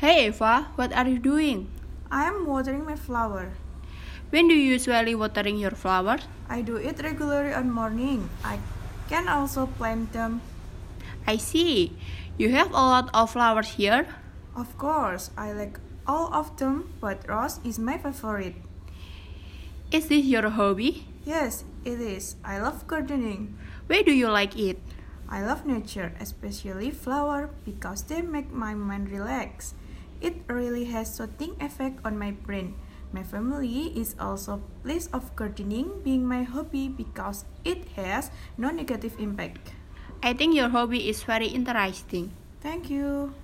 Hey Eva, what are you doing? I am watering my flower. When do you usually watering your flowers? I do it regularly on morning. I can also plant them. I see. You have a lot of flowers here. Of course, I like all of them, but rose is my favorite. Is this your hobby? Yes, it is. I love gardening. Where do you like it? I love nature, especially flower, because they make my mind relax. It really has soothing effect on my brain. My family is also pleased of gardening being my hobby because it has no negative impact. I think your hobby is very interesting. Thank you.